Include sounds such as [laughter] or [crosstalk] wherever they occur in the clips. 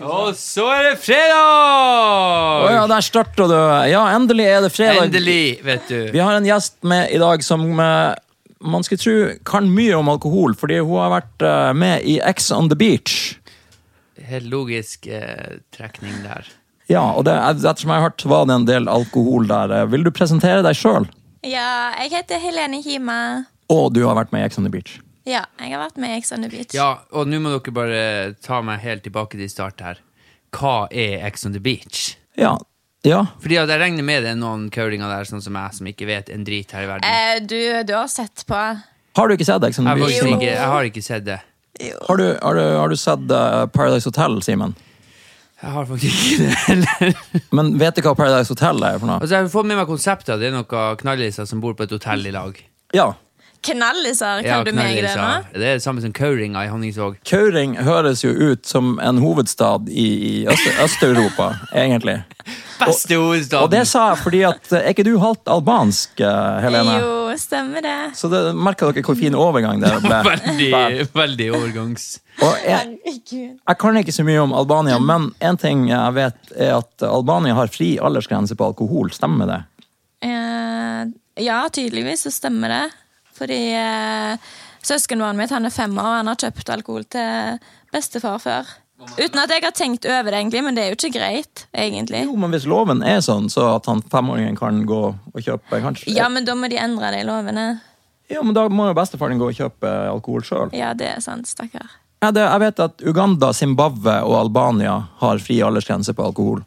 Og så er det fredag! Å ja, der starta du. Ja, endelig er det fredag. Endelig, vet du. Vi har en gjest med i dag som eh, man skulle tro kan mye om alkohol, fordi hun har vært eh, med i X on the Beach. Helt logisk eh, trekning der. Ja, og det, eh, ettersom jeg har hørt, var det en del alkohol der. Eh, Vil du presentere deg sjøl? Ja, jeg heter Helene Hima. Og du har vært med i X on the Beach. Ja, jeg har vært med i Ex on the Beach. Ja, og nå må dere bare ta meg helt tilbake til start her. Hva er Ex on the beach? Ja. Ja. Fordi at jeg regner med det er noen kølinger der sånn som jeg som ikke vet en drit her i verden. Eh, du, du har sett på Har du ikke sett X on the Jeg, Beach? faktisk Jo. Simen? ikke, jeg har ikke sett det. Har du, har du, har du sett eh, Paradise Hotel, Simen? Jeg har faktisk ikke det heller. [laughs] Men vet du hva Paradise Hotel er for noe? Altså, jeg har fått med meg konseptet. Det er noen knalliser som bor på et hotell i lag. Ja. Knalliser, kan du meg det nå? knalliser. Det er det samme som curlinga i Honningsvåg. Kauring høres jo ut som en hovedstad i, i Øst- [laughs] Øst-Europa, egentlig. Beste hovedstaden! Og det sa jeg fordi at eh, Er ikke du halvt albansk, eh, Helene? Jo, stemmer det. Så det, merker dere hvor fin overgang det [laughs] ble. Veldig, veldig overgangs... Og jeg, Herregud. jeg kan ikke så mye om Albania, men én ting jeg vet, er at Albania har fri aldersgrense på alkohol. Stemmer det? Eh, ja, tydeligvis så stemmer det. Fordi eh, søskenbarnet mitt han er fem år, og han har kjøpt alkohol til bestefar før. Uten at jeg har tenkt over det, egentlig, men det er jo ikke greit, egentlig. Jo, men hvis loven er sånn, så at han femåringen kan gå og kjøpe kanskje Ja, men da må de endre det i lovene. Ja, men da må jo bestefaren gå og kjøpe alkohol sjøl. Ja, det er sant, stakkar. Ja, det- jeg vet at Uganda, Zimbabwe og Albania har fri aldersgrense på alkohol.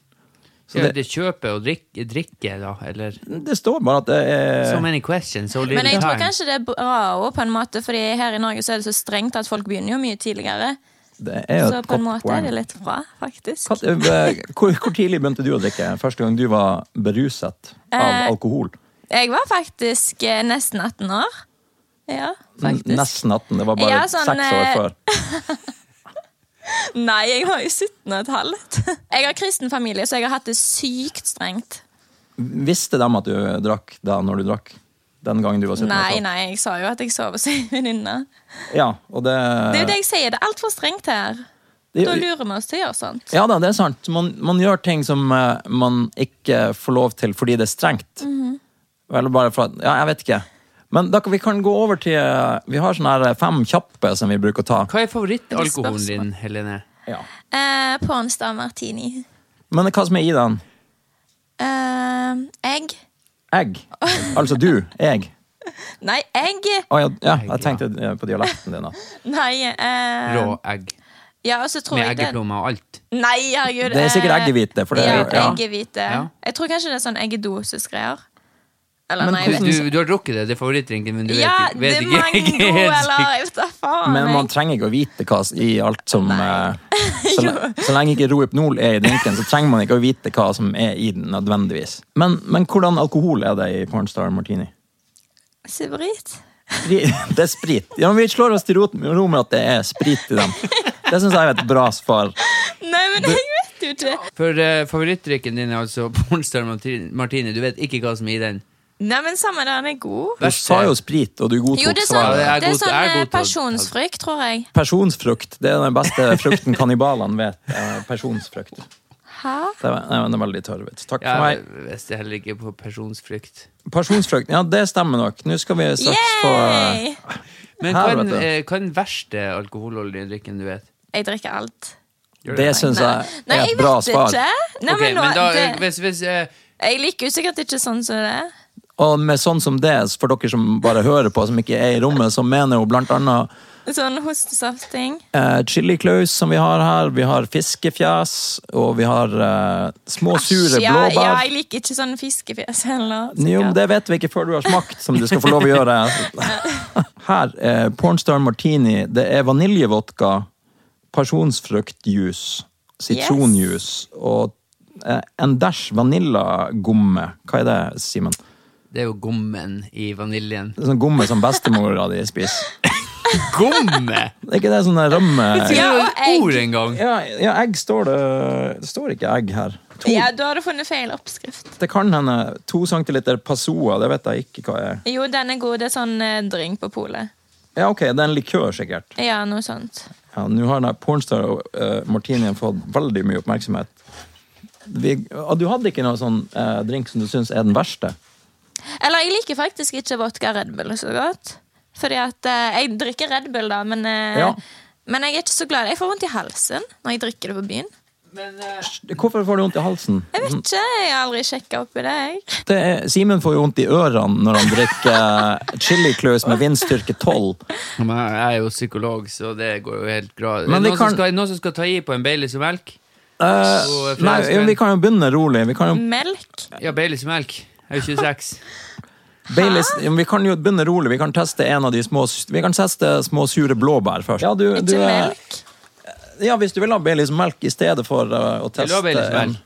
Så Ja, det, det kjøper og drikke, drikke da, eller det står bare at det er So many questions, so little Men jeg tror time. kanskje det er bra òg, på en måte, fordi her i Norge så er det så strengt at folk begynner jo mye tidligere. Det er jo Så et på en godt måte poeng. er det litt bra, faktisk. Kat- eh, Hvor, hvor tidlig begynte du å drikke? Første gang du var beruset av Eh, alkohol? Jeg var faktisk eh, nesten 18 år. Ja, N- faktisk. Nesten 18. Det var bare Ja, sånn, seks år eh, før. [laughs] Nei, jeg var jo 17 og et halvt. [laughs] Jeg har kristen familie, så jeg har hatt det sykt strengt. Visste de at du drakk da når du drakk? Den gangen du var 17 år Nei, gammel? nei, jeg sa jo at jeg sov hos [laughs] ei venninne. Ja, og det, Det er jo det jeg sier, det er altfor strengt her. Da lurer vi oss til å gjøre sånt. Ja da, det er sant. Man, man gjør ting som eh, man ikke får lov til fordi det er strengt. Eller bare for at Ja, jeg vet ikke. Men da, kan- vi kan gå over til eh, Vi har sånne her fem kjappe som vi bruker å ta. Hva er favorittalkoholen Spørsmål. din, Helene? Ja. Eh, Pornstad martini. Men hva som er i den? Eh, egg. Egg. Altså du. Jeg. Nei, egg! Å ja, ja, jeg Egg, tenkte eh, på dialekten din. da. Nei. Eh, Rå egg Ja, og så tror med jeg det eggeplommer og alt. Nei, herregud. Det er sikkert eh, eggehvite, for det ja, er- ja. eggehvite. Ja. Jeg tror kanskje det er sånn eggedosisgreier. Eller Men nei, Du, jeg vet ikke. du, du har drukket det, det er favorittdrinken, men du Ja, vet, [laughs] det vet er ikke mango Jeg er helt eller sikker. jeg vet da faen. Men man jeg. trenger ikke å vite hva s- i alt som eh, så, le- så lenge ikke Rohypnol er i drinken, så trenger man ikke å vite hva som er i den nødvendigvis. Men, men hvordan alkohol er det i Pornstar Martini? Sibrit. Spri- Det er sprit. [laughs] Ja, men Vi slår oss til roten- ro med at det er sprit i dem. Det syns jeg er et bra svar. Nei, men jeg vet jo ikke. For eh, favorittdrikken din er altså [laughs] Pornstar Martini, Martini. Du vet ikke hva som er i den. Nei, men samme det, han er god. Du sa jo sprit, og du Jo, godtok det er sånn, svaret. Ja, det er det er god- sånn jeg er eh, god til å- pasjonsfrykt, tror jeg. Personsfrukt. Det er den beste frukten kannibalene vet. eh, Personsfrukt. Hæ? Det er, nei, den er veldig tørr. vet du. Takk for meg. Jeg visste heller ikke på personsfrykt. Personsfrukt. Ja, det stemmer nok. Nå skal vi straks få Yay! Men hva Her, er den, vet du. eh, hva er den verste alkoholholdige drikken du vet? Jeg drikker alt. Gjør Det det? syns Nei, jeg Nei, er jeg et bra vet svar. ikke. Nei, Ok, men nå, men da, eh, det, hvis, hvis eh, jeg liker jo sikkert ikke sånn som det er. Og med sånn som det, for dere som bare hører på, som ikke er i rommet, så mener hun blant annet Sånn hostesaftting. eh, Chili Claus, som vi har her, vi har fiskefjes, og vi har eh, små, sure ja, ja, blåbær. jeg liker ikke sånn fiskefjes heller. Jo, men det vet vi ikke før du har smakt, som du skal få lov å gjøre. Her er Pornstar Martini. Det er vaniljevodka, personsfruktjuice, sitronjuice og eh, en dash vaniljagomme. Hva er det, Simen? Det er jo gommen i vaniljen. Det er Sånn gomme som bestemora di spiser. [laughs] Gomme?! Det er ikke det sånn der rømme Det Ja, er jo og et ord engang! ja, ja, egg står det Det står ikke egg her. To, Ja, da har du funnet feil oppskrift. Det kan hende to centiliter Passoa, det vet jeg ikke hva er. Jo, den er god. Det er sånn eh, drink på polet. Ja, ok, det er en likør, sikkert. Ja, noe sånt. Ja, Nå har denne pornstar og eh, martinien fått veldig mye oppmerksomhet. Vi, ah, du hadde ikke noen sånn eh, drink som du syns er den verste? Eller jeg liker faktisk ikke vodka Red Bull så godt. Fordi at eh, jeg drikker Red Bull, da, men, eh, Ja. men jeg er ikke så glad. Jeg får vondt i halsen når jeg drikker det på byen. Men eh, Hvorfor får du vondt i halsen? Jeg vet ikke, jeg har aldri sjekka oppi det. jeg. Det er, Simen får jo vondt i ørene når han drikker eh, chili close med vindstyrke 12. men jeg er jo psykolog, så det går jo helt bra. Men vi noen, som kan- skal, noen som skal ta i på en Baileys og melk? Eh, Så, nei, Frans, jo, men- vi kan jo begynne rolig. Vi kan jo, Melk. Ja, Baileys og melk. Jeg er jo 26. Baileys, jo, vi kan jo begynne rolig. Vi kan teste en av de små Vi kan teste små sure blåbær først. Ja, du, du eh, Ikke er- melk. Ja, Hvis du vil ha Baileys melk i stedet for eh, å Vil du teste ha Baileys og en- melk?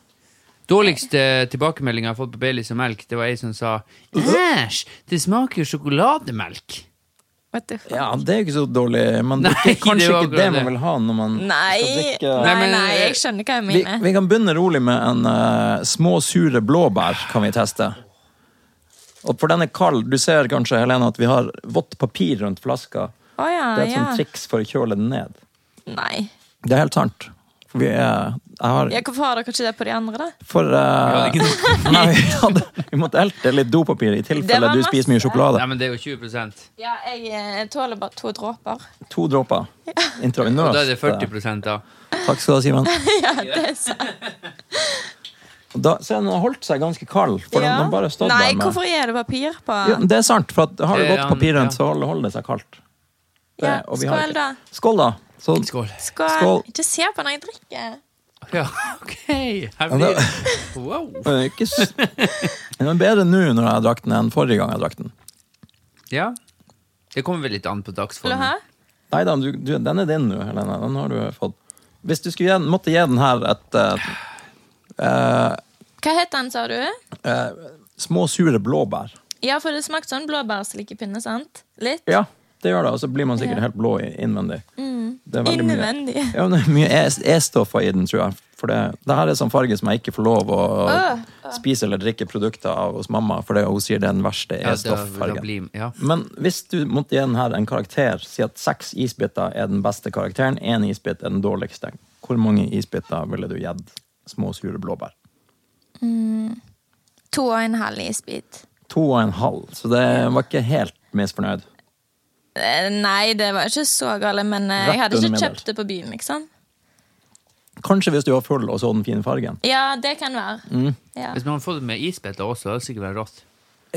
Dårligste tilbakemeldinga jeg har fått på Baileys og melk, det var ei som sa Æsj, det smaker jo sjokolademelk. What the fuck? Ja, det er jo ikke så dårlig, men det Nei, er [laughs] det var kanskje ikke det akkurat det. man vil ha når man skal Nei. drikke nei, men, nei, eh, jeg skjønner hva jeg vi, mener. vi kan begynne rolig med en eh, små sure blåbær, kan vi teste. Og for den er kald. Du ser kanskje, Helene, at vi har vått papir rundt flaska. Å ja, Det er et Ah, ja. sånt triks for å kjøle den ned. Nei. Det er helt sant. For vi er jeg har, Ja, hvorfor har dere ikke det på de andre, da? For eh, Vi hadde [laughs] Nei, vi, hadde, vi måtte elte litt dopapir i Det var tilfelle du spiser mye masse. sjokolade. Nei, men det er jo 20 Ja, jeg eh, tåler bare to dråper. [laughs] To dråper. Og Intravenøst. da er det 40 da. Takk skal du ha, Simen. Ja, det er sant. Da, så den har holdt seg ganske kald. For den, Ja. den bare stått Nei, der med hvorfor er det papir på? ja, Det er sant, for at, har du Det er godt han- papir rundt, ja. så holder, holder det seg kaldt. Det- Ja, eh, og vi har skål ikke- da. Skål, da. Så, Skål. Skål. Skål. Ikke se på når jeg drikker. Ja, [laughs] ok. Her blir Wow. Eh, ikke s- Den er bedre nå når jeg drakk den enn forrige gang jeg drakk den. Ja. Det kommer vel litt an på Vil du dagsformen. ha? Nei da, du, du, den er din nå, Helene. Den har du fått. Hvis du skulle gi, måtte gi den her et eh, eh, Hva het den, sa du? eh, Små sure blåbær. Ja, for det smakte sånn blåbærslikepinne, sant? Litt? Ja, det gjør det. Og så blir man sikkert Ja. Mm. helt blå i- innvendig. Det er veldig mye- Innvendig. Ja, men det er mye E- E-stoffer i den, tror jeg. For det, det her er sånn farge som jeg ikke får lov å Øh, spise eller drikke produkter av hos mamma, for det hun sier det er den verste Ja, da, da E-stofffargen. blir, ja. Men hvis du måtte gi den her en karakter, si at seks isbiter er den beste karakteren, én isbit er den dårligste, hvor mange isbiter ville du gitt små sure blåbær? To og en halv isbit. To og en halv, så det var ikke helt misfornøyd. Eh, Nei, det var ikke så gale, men eh, Rett jeg hadde under ikke middel. kjøpt det på byen, liksom. Kanskje hvis du var full og så den fine fargen. Ja, det kan være. Mm. Ja. Hvis man hadde fått det med isbiter også, hadde det sikkert vært rått.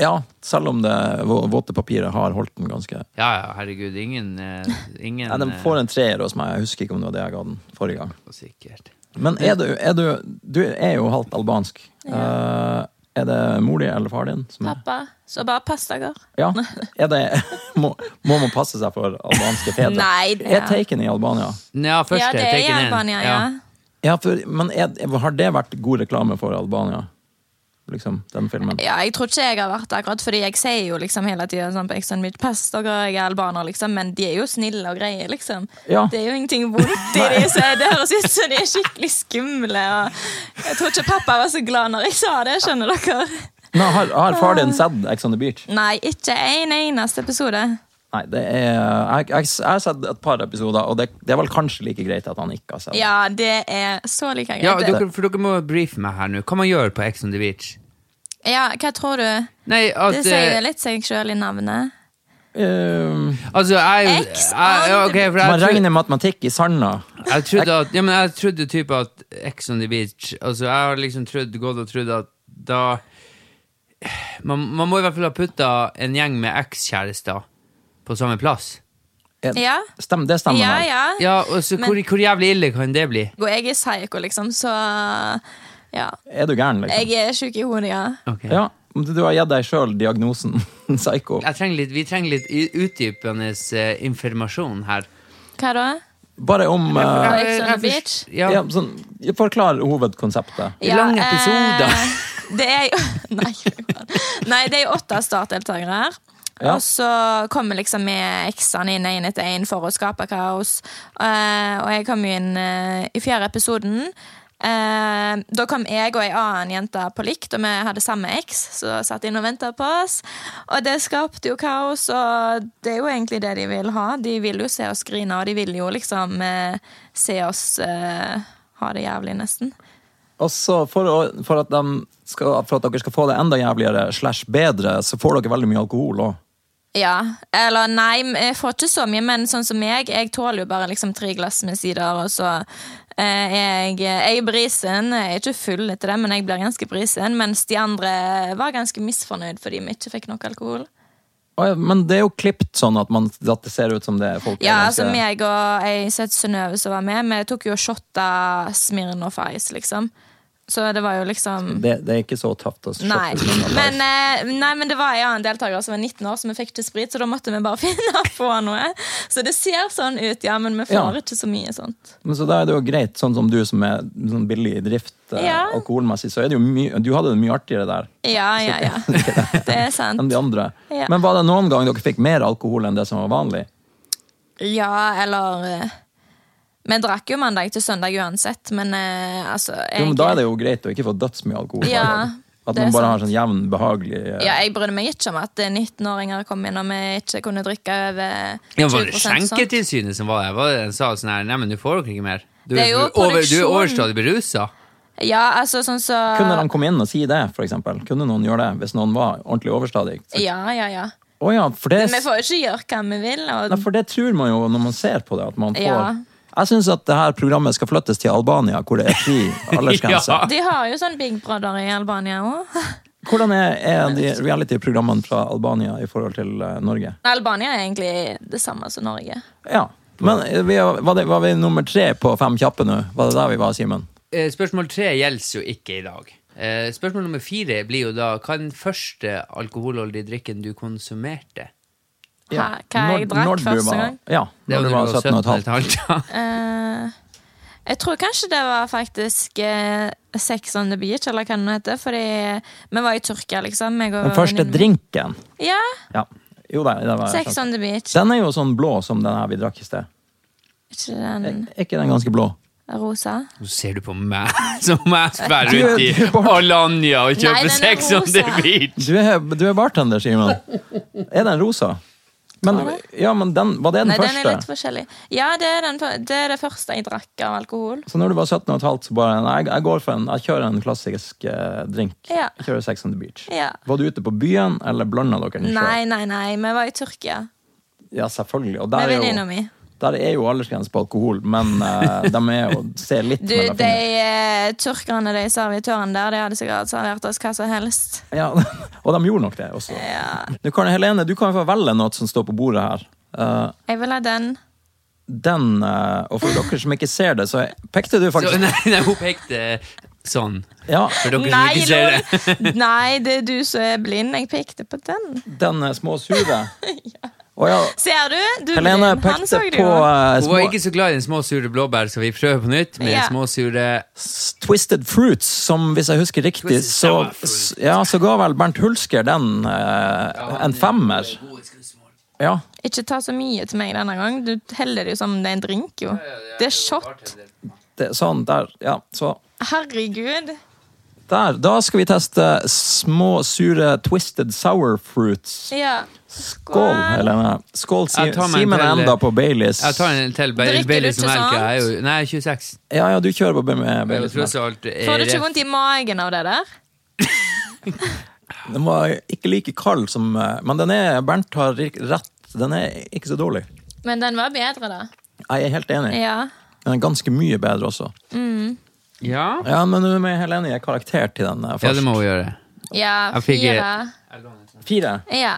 Ja, selv om det vå- våte papiret har holdt den ganske Ja, ja, herregud. Ingen, eh, ingen Nei, Den får en treer hos meg, jeg husker ikke om det var det jeg ga den forrige gang. eh, Sikkert. Men er du, er du, du er jo halvt albansk. Eh, er det mor di eller far din som er Pappa, så bare pass dere. Ja. Er det, [laughs] må, må man passe seg for albanske fedre? Nei, det- Er Taken i Albania? Ja, først Ja, det er i taken in. Albania, ja. Ja, for, men er, har det vært god reklame for Albania? Liksom, den filmen? Ja, jeg tror ikke jeg har vært det akkurat, fordi jeg sier jo liksom hele tiden sånn på Ex on the Beach, pass dere, jeg er albaner, liksom, men de er jo snille og greie, liksom. Ja. Det er jo ingenting vondt i de, så det høres ut som de er skikkelig skumle, og jeg tror ikke pappa var så glad når jeg sa det, skjønner dere? Nå, har, har far din sett Ex on the Beach? Nei, ikke en eneste episode. Nei, det er, jeg, jeg, jeg har sett et par episoder, og det, det er vel kanskje like greit at han ikke har sett det. Ja, det er så like greit. Ja, dere, for dere må briefe meg her nå. Hva man gjør på Ex on the Beach? Ja, hva tror du? Nei, at Det sier eh, litt seg sjøl i navnet. Eh, Altså, jeg, jeg, Ex ja, on ok, the- for man jeg, trodde, regner matematikk i sanda. jeg trodde at Ja, men jeg trodde typ at Ex on the Beach Altså, jeg har liksom trodd, gått og trodd at da man, man må i hvert fall ha putta en gjeng med ekskjærester på samme plass. Er- Ja. Stem, det stemmer. Ja, vel? ja. Ja, og så Men- hvor, hvor jævlig ille kan det bli? Og jeg er psycho, liksom, så ja. Er du gæren, liksom? Jeg er sjuk i hodet, ja. Ok. Ja, men du har gitt deg sjøl diagnosen [laughs] psycho. Jeg trenger litt, vi trenger litt i- utdypende eh, informasjon her. Hva da? Bare om eh, Ex on the Jeg- jeg- Beach? Ja. ja, sånn, Forklar hovedkonseptet. I lange episoder. Eh, [laughs] det er jo [laughs] Nei, fy faen. Nei, [laughs] det er jo åtte startdeltakere her. Ja. Og så kommer liksom med eksene inn én etter én for å skape kaos. Eh, og jeg kom jo inn eh, i fjerde episoden. Eh, da kom jeg og ei annen jente på likt, og vi hadde samme eks, som satt inn og venta på oss. Og det skapte jo kaos, og det er jo egentlig det de vil ha. De vil jo se oss grine, og de vil jo liksom eh, se oss eh, ha det jævlig, nesten. Og så for, å- for, at dem skal, for at dere skal få det enda jævligere slash bedre, så får dere veldig mye alkohol òg. Ja. Eller nei, jeg får ikke så mye, men sånn som meg, jeg tåler jo bare liksom tre glass med sider, og så eh, jeg, jeg er brisen. Jeg er ikke full etter det, men jeg blir ganske brisen. Mens de andre var ganske misfornøyd fordi vi ikke fikk nok alkohol. Men det er jo klipt sånn at, man, at det ser ut som det er folk er Ja, altså ganske- meg og ei som heter Synnøve som var med, vi tok jo og shotta Smirnoff Ice, liksom. Så det var jo liksom det, det er ikke så tøft å shotte Nei. sånn at- Men, eh, nei, men det var en annen deltaker som var 19 år, så vi fikk ikke sprit, så da måtte vi bare [laughs] finne på noe. Så det ser sånn ut, ja, men vi får Ja. ikke så mye sånt. Men så da er det jo greit, sånn som du som er sånn billig i drift eh, Ja. alkoholmessig, så er det jo mye Du hadde det mye artigere der Ja, ja, [laughs] ja. Det er enn sant. de andre. Ja. Men var det noen gang dere fikk mer alkohol enn det som var vanlig? Ja, eller eh, Vi drakk jo mandag til søndag uansett, men eh, altså Jo, men Da er det jo greit å ikke få dødsmye alkohol. hver Ja, dag. At det er man bare har sant. sånn jevn, behagelig eh, ja, jeg brydde meg ikke om at eh, 19-åringer kom inn og vi ikke kunne drikke over 20 Ja, var det sånn. skjenketilsynet som var der? Var det den sa sånn her, nei, men du får dere ikke mer. Du Det er jo over, du er produksjon. overstadig berusa. Ja, altså sånn så Kunne de komme inn og si det, for eksempel? Kunne noen gjøre det hvis noen var ordentlig overstadig? Å Ja, ja, ja. ja, for det, Vi får jo ikke gjøre hva vi vil. Og Nei, for det tror man jo når man ser på det, at man får Ja. Jeg syns at det her programmet skal flyttes til Albania, hvor det er [laughs] fri aldersgrense. Ja. De har jo sånn Big Brother i Albania òg. Hvordan er, er de reality-programmene fra Albania i forhold til eh, Norge? [laughs] Albania er egentlig det samme som Norge. Ja. Men eh, vi, var, det, var vi nummer tre på Fem kjappe nå? Var det der vi var, Simen? Eh, Spørsmål tre gjelder jo ikke i dag. Eh, Spørsmål nummer fire blir jo da hva er den første alkoholholdige drikken du konsumerte? Hva, hva jeg drakk du første var- gang. Ja, Det er jo når du var 17 og et halvt. [laughs] halvt. Eh, jeg tror kanskje det var faktisk eh, Sex on the beach, eller hva det heter. Fordi vi var i Tyrkia, liksom. Jeg og Den første venninnen min. drinken. Ja. Ja. Jo da, det var sånn. Sex on the beach. Den er jo sånn blå som den her vi drakk i sted. Ikke den Er ikke den ganske blå? rosa? Nå ser du på meg som jeg spør Du- rundt i du bare- Alanya og Nei, den kjøper er sex on the rosa. beach. Du er, du er bartender, Simen. Er den rosa? Men, ja, men den, var det den Nei, den er første? litt forskjellig. Ja, det er, den, fir- det er det første jeg drakk av alkohol. Så når du var 17 og et halvt, så bare Nei, jeg, jeg går for en, jeg kjører en klassisk eh, drink. Ja. Jeg kjører Sex on the Beach. Ja. Var du ute på byen, eller blanda dere den selv? Nei, nei, nei. Vi var i Tyrkia Ja, selvfølgelig. Og med der er venninna jo, mi. der er jo aldersgrense på alkohol, men eh, [laughs] de er jo ser litt Du, mellom de fingrene. eh, tyrkerne, de servitørene der, de hadde sikkert servert oss hva som helst. Ja, [laughs] og de gjorde nok det også. Du kan, Helene, du kan jo få velge noe som står på bordet her. Eh, Jeg vil ha den. den, eh, og for dere som ikke ser det, så pekte du Så, faktisk nei, [laughs] nei, hun pekte sånn. Ja, For dere som Nei, ikke ser det. [laughs] lol. nei, det er du som er blind. Jeg pekte på den. den eh, små sure. [laughs] Og ja, Ser du? Du er Helene blind. Han pekte så det på jo. eh, Altså, Hun små, var ikke så glad i den små sure blåbær, så vi prøver på nytt med Ja. små sure s- Twisted Fruits, som hvis jeg husker riktig, Twisted så, Sour Fruit. ja, så ga vel Bernt Hulsker den eh, en femmer. Ja, Ikke ta så mye til meg denne gang. Du heller det jo som det er en drink, jo. Det er shot. det, sånn der. Ja, så Herregud. Der, da skal vi teste små, sure twisted sour fruits. Ja. Skål, Helene. Skål, Si- Jeg tar meg en Simen til, er enda på Baileys. Jeg tar en til. Bare, Drikker du Bailey ikke som melk, jeg er sant? jo Nei, 26. Ja, ja, du kjører på med med Jeg Baileys. tror så alt eh, er Får du ikke rett. vondt i magen av det der? Den var ikke like kald som eh, Men den er Bernt har rik- rett. Den er ikke så dårlig. Men den var bedre, da. Jeg er helt enig. Ja. Den er ganske mye bedre også. Ja? Ja, men nå må Helene gi karakter til den eh, ja, det først. må hun gjøre. Ja, Jeg fikk- fire. Fire. Ja.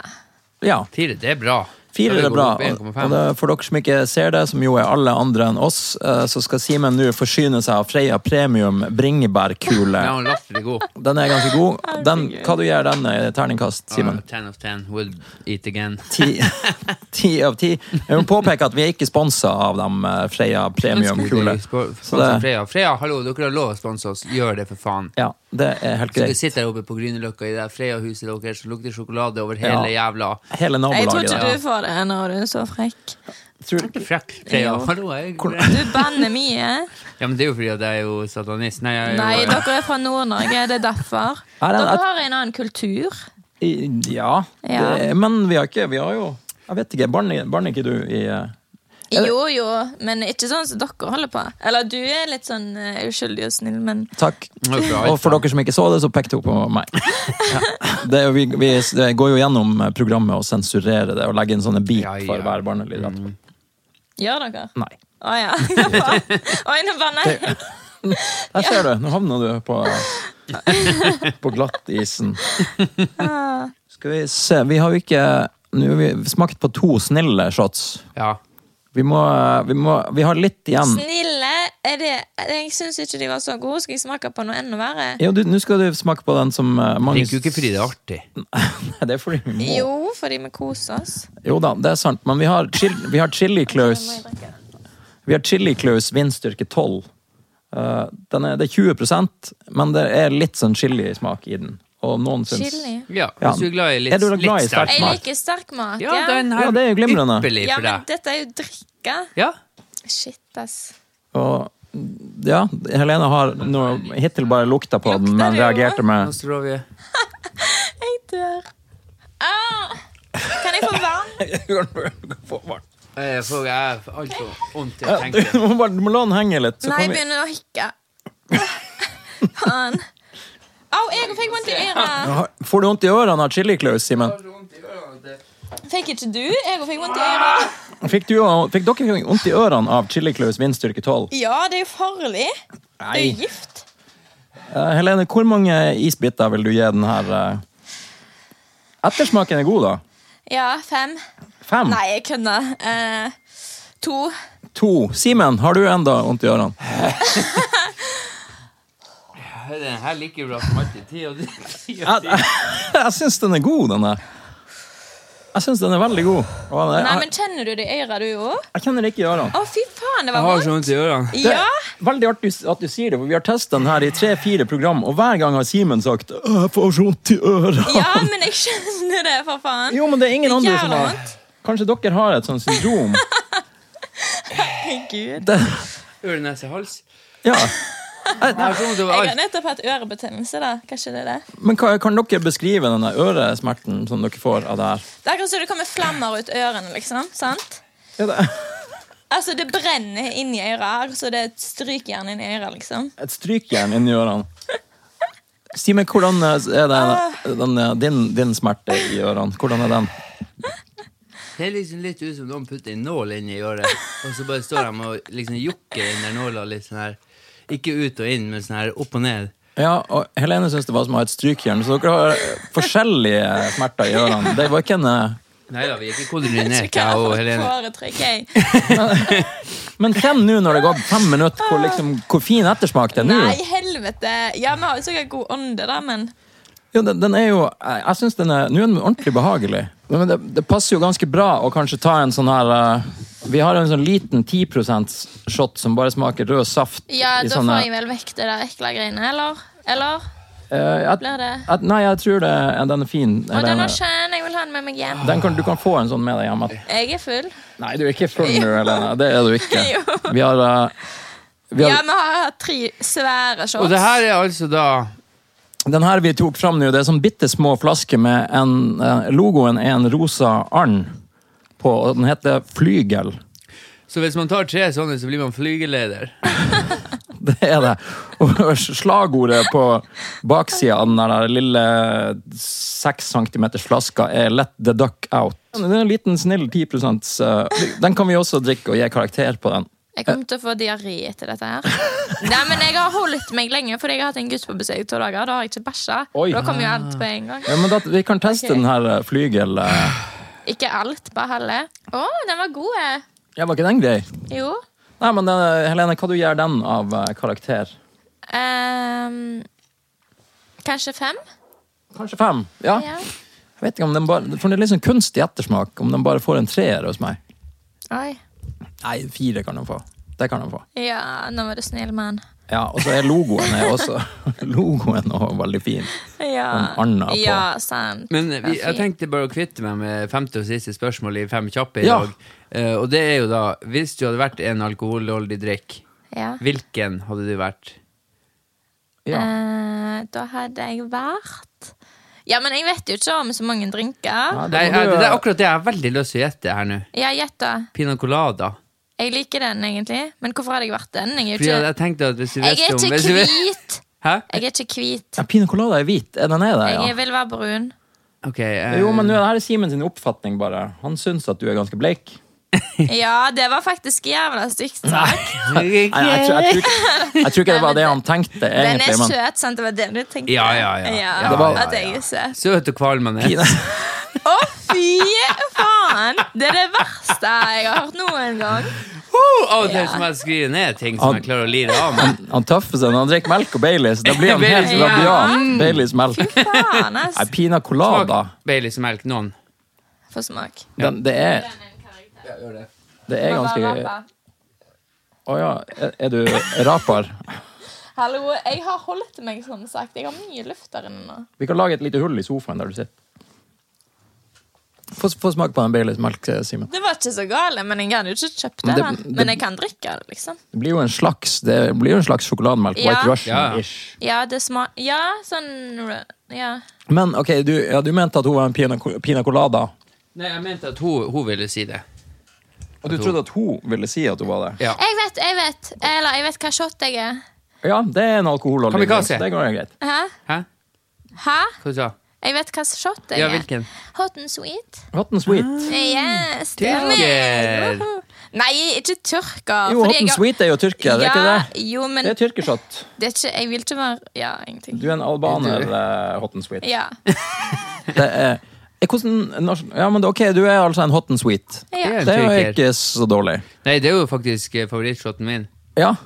Ja. Fire, det er bra. Fire Ja, er går bra. opp Og 1,5. og det, for dere som ikke ser det, som jo er alle andre enn oss, eh, så skal Simen nå forsyne seg av Freia Premium bringebærkule. Ja, hun er latterlig god. Den er ganske god. Den, hva du gjør den i terningkast, Simen? Ah, 10 of 10 Would eat again. Ti [laughs] ti av ti. Jeg vil påpeke at vi er ikke sponsa av dem, eh, Freia Premium-kule. Sponsor Så det- Freya. Freya, hallo, dere har lov å sponse oss. Gjør det, for faen. Ja, Det er helt Så vi greit. sitter der oppe på Grünerløkka i det der Freia-huset deres som lukter sjokolade over hele Ja. jævla Hele Jeg tror nabolaget ikke der. du får det når du er så frekk. Tror- Frekk Freia. Jo. Hallo, jeg Du banner mye. [laughs] Ja, men det er jo fordi at jeg er jo satanist. Nei, jeg, er jo- Nei, dere er fra Nord-Norge, det er derfor. Nei, nei, Dere jeg- har en annen kultur. I- Ja. Ja. Det, men vi har ikke Vi har jo Jeg vet ikke. Barner barn ikke du i eh, Jo, jo, men ikke sånn som dere holder på. Eller du er litt sånn eh, uskyldig og snill, men Takk. Det er bra, Og for dere som ikke så det, så pekte hun på [laughs] meg. Det, er jo- vi, vi går jo gjennom programmet og sensurerer det og legger inn sånne beep Ja, Mm. ja. for hver barnelyd. etterpå. gjør dere? Nei. Å [laughs] ja. Oi, nå banner jeg. Der ser du. Nå havna du på, på glattisen. Skal vi se Vi har jo ikke Nå har vi smakt på to snille shots. Ja. Vi må Vi, må, vi har litt igjen. Snille, er det, jeg syns ikke de var så gode. Skal jeg smake på noe enda verre? Jo, du, Nå skal du smake på den som eh, mange Drikker jo ikke fordi det er artig. [laughs] Nei, det er fordi vi må. Jo. Jo, fordi vi koser oss. da, det er sant. Men vi har, chil, vi har Chili Claus. Vi har Chili Claus vindstyrke 12. Eh, den er, det er 20 men det er litt sånn chili-smak i den. Og noen syns Chili. Ja, Ja. hvis du er glad i litt, Er du glad i litt sterk sterk Jeg mat. mat? liker sterk mat. Ja, den her Ja, det er jo glimrende. ypperlig ja for men deg. dette er jo drikke. Ja, Shit, ass. Og ja, Helene har nå hittil bare lukta på den, Lukter men det jo, reagerte nå med står vi Jeg dør. Ah! Kan jeg få vann? Jeg får jeg får alt for vondt til å Ja, Du tenke. må bare- du må la den henge litt. Så Nei, kan jeg vi, begynner å hikke. [laughs] Faen. Au, jeg fikk vondt i øret. Har- får du vondt i ørene av Chili Claus, Simen? Fikk ikke du? Jeg fikk vondt i øret. Fikk, du, og- fikk dere vondt i ørene av Chili Claus vindstyrke 12? Ja, det er jo farlig. Det er jo gift. Eh, Helene, hvor mange isbiter vil du gi den her? eh? Ettersmaken er god, da. Ja, fem. Fem? Nei, jeg kødder. Eh, to. To. Simen, har du enda vondt i ørene? Den her liker bra som alltid. Ti og ti og ti. Jeg, [laughs] jeg syns den er god, den der. Jeg syns den er veldig god. Og den er- Nei, jeg, men kjenner du det i øret, du jo? Å, jeg kjenner det ikke i ørene. fy faen, det Jeg var har vondt. så vondt i ørene. Det er Ja! Veldig artig at du sier det, for vi har testet den her i tre-fire program, og hver gang har Simen sagt «Åh, 'Jeg får så vondt i øra'. Ja, men jeg skjønner det, for faen. [laughs] Jo, men det er ingen Det er andre som jævla har vondt. Kanskje dere har et sånt [laughs] syndrom? Herregud. Det, Øre, nese, hals. ja. Jeg har så vondt over Jeg har alt. nettopp hatt ørebetennelse, da. Kanskje det er det? Men hva, kan dere beskrive den der øresmerten som dere får av det her? Det er akkurat som det kommer flammer ut ørene, liksom. sant? Ja, det, Altså, det brenner inni øra. Akkurat som det er et strykjern inni øra, liksom. et strykjern inni ørene. Simen, hvordan er det, Ah. den, din, din smerte i ørene? Hvordan er den? Det er liksom litt ut som noen putter en nål inn i øret, og så bare står de og liksom jokker den der nåla litt sånn her. Ikke ut og inn, men sånn her opp og ned. Ja, og Helene syns det var som å ha et strykjern, så dere har forskjellige smerter i ørene. Det var ikke en eh, Nei da, vi er ikke Så koordinerte, hva jeg og for et Helene. foretrekk, jeg? Men kjenn nå når det går fem minutter, hvor, liksom, hvor fin ettersmak det er nå. Nei, helvete! Ja, vi har jo sikkert god ånde, da, men Jo, den, den er jo, jeg jeg synes den er, nå er den ordentlig behagelig. Men det, det passer jo ganske bra å kanskje ta en sånn her eh, Vi har en sånn liten 10 %-shot som bare smaker rød saft. Ja, i da sånne- får jeg vel vekk det der ekle greiene, eller? Eller? Eh, at- Blir det- at- Nei, jeg tror det, er- den er fin. Å, den Helene. var kjent! Jeg vil ha den med meg hjem. Den kan, du kan få en sånn med deg hjemme. Jeg er full. Nei, du er ikke full [laughs] nå, Helene. Det er du ikke. Vi har, eh, vi Ja, har vi har hatt tre svære shots. Og det her er altså da Den her vi tok fram nå, det er sånn bitte små flasker med en eh, Logoen er en rosa and på, og den heter Flygel. [laughs] Så hvis man tar tre sånne, så blir man flygeleder. Det er det. Og slagordet på baksida av den der lille seks centimeters flaska er 'Let the duck out'. Det er en liten, snill 10 eh, Den kan vi også drikke og gi karakter på den. Jeg kommer til å få diaré etter dette [laughs] her. Nei, men jeg har holdt meg lenge, fordi jeg har hatt en gutt på besøk i to dager. Da har jeg ikke bæsja. Oi. Da kommer jo alt på en gang. Ja, men da, Vi kan teste Ok. den her eh, Flygel. eh. Ikke alt, bare halve. Å, den var god. eh. Ja, var ikke den grei? Jo. Nei, men eh, Helene, hva du gjør den av eh, karakter? Ehm, kanskje fem? Kanskje fem? Ja. Ja. Jeg vet ikke om den bare, for Det er litt sånn kunstig ettersmak om den bare får en treer hos meg. Oi. Nei, fire kan den få. Det kan den få. Ja, nå var du snill, mann. Ja, og så er logoen er også [laughs] Logoen er også veldig fin. Ja, En anda på. ja sant. Men Det var vi, jeg fint. tenkte bare å kvitte meg med femte og siste spørsmål i Fem kjappe i Ja. dag. Eh, og det er jo da, hvis du hadde vært en alkoholholdig drikk, ja. hvilken hadde du vært? Ja. Eh, da hadde jeg vært Ja, men jeg vet jo ikke om så mange drinker. Ja, da Nei, må jeg, du- det er akkurat det jeg har veldig lyst til å gjette her nå. Ja, gjett da. Pina colada. Jeg liker den egentlig. Men hvorfor hadde jeg vært den? Jeg er Fordi jo jeg ikke, tenkte at hvis du jeg visste er om ikke hvis du vet- hvit. Hæ? Jeg er ikke hvit. ja, Pina colada er hvit. Er den er det, Jeg ja? vil være [laughs] brun. Ok, eh, Jo, men nå er det her Simen sin oppfatning, bare. Han syns at du er ganske bleik. Ja, det var faktisk jævla stygt sagt. Nei, jeg, tror, jeg, tror, ikke- jeg tror ikke det var det han tenkte, Den er egentlig. Men søt, sant? Det var det du tenkte? Ja, ja, ja. Ja, Det var- At jeg er søt. Søt og kvalm han er. Pina, Å, fy faen! Det er det verste jeg har hørt noen gang. Oh, av og til Ja. så må jeg skrive ned ting som jeg klarer å lire av. Men [laughs] han tøffer seg når han drikker melk og Baileys. Da blir han helt Baileys, ja. rabiat. Baileys melk. Fy faen, ass. Nei, Pina colada. Baileysmelk noen. Få smak. Den, det er Det er ganske Å ja, er- er du raper? Hallo, jeg har holdt meg, som sagt. Jeg har mye luft der inne nå. Vi kan lage et lite hull i sofaen der du sitter. Få, få smake på den Baileys melk, eh, Simen. Det var ikke så gale, men jeg hadde jo ikke kjøpt det. Men det- da. det- Men jeg kan drikke det, liksom. Det blir jo en slags Det blir jo en slags sjokolademelk. Ja. White Ja. Russian-ish. Ja, det sma... Ja, sånn Ja. Men ok, du, ja, du mente at hun var en pina, pina colada. Nei, jeg mente at hun, hun ville si det. Og du trodde at hun ville si at hun var det? Ja. Jeg vet, jeg vet. Eller jeg vet hva shot jeg er. Ja, det er en alkoholholdig drink. Kamikaze. Det går jo greit. Hæ? Hæ? Hæ? Hva sa du? Jeg vet hva shot jeg Ja, er. hvilken? Hot and sweet. Hot and sweet. Yes, det er Tyrker! meg. Woho! Nei, ikke tyrker. Jo, Ah. fordi hot jeg and har- sweet er jo tyrker, det er ikke Ja, det? Jo, men Det er tyrkershot. det er ikke, jeg vil ikke være Ja, ingenting. Du er en albaner, eh, hot and sweet. Ja. Det er, er hvordan, nasjon- ja, men det, ok, du er altså en hot and sweet. Ja. ja. Det er jo tyrker. ikke så dårlig. Nei, det er jo faktisk eh, favorittshoten min. Ja, Å,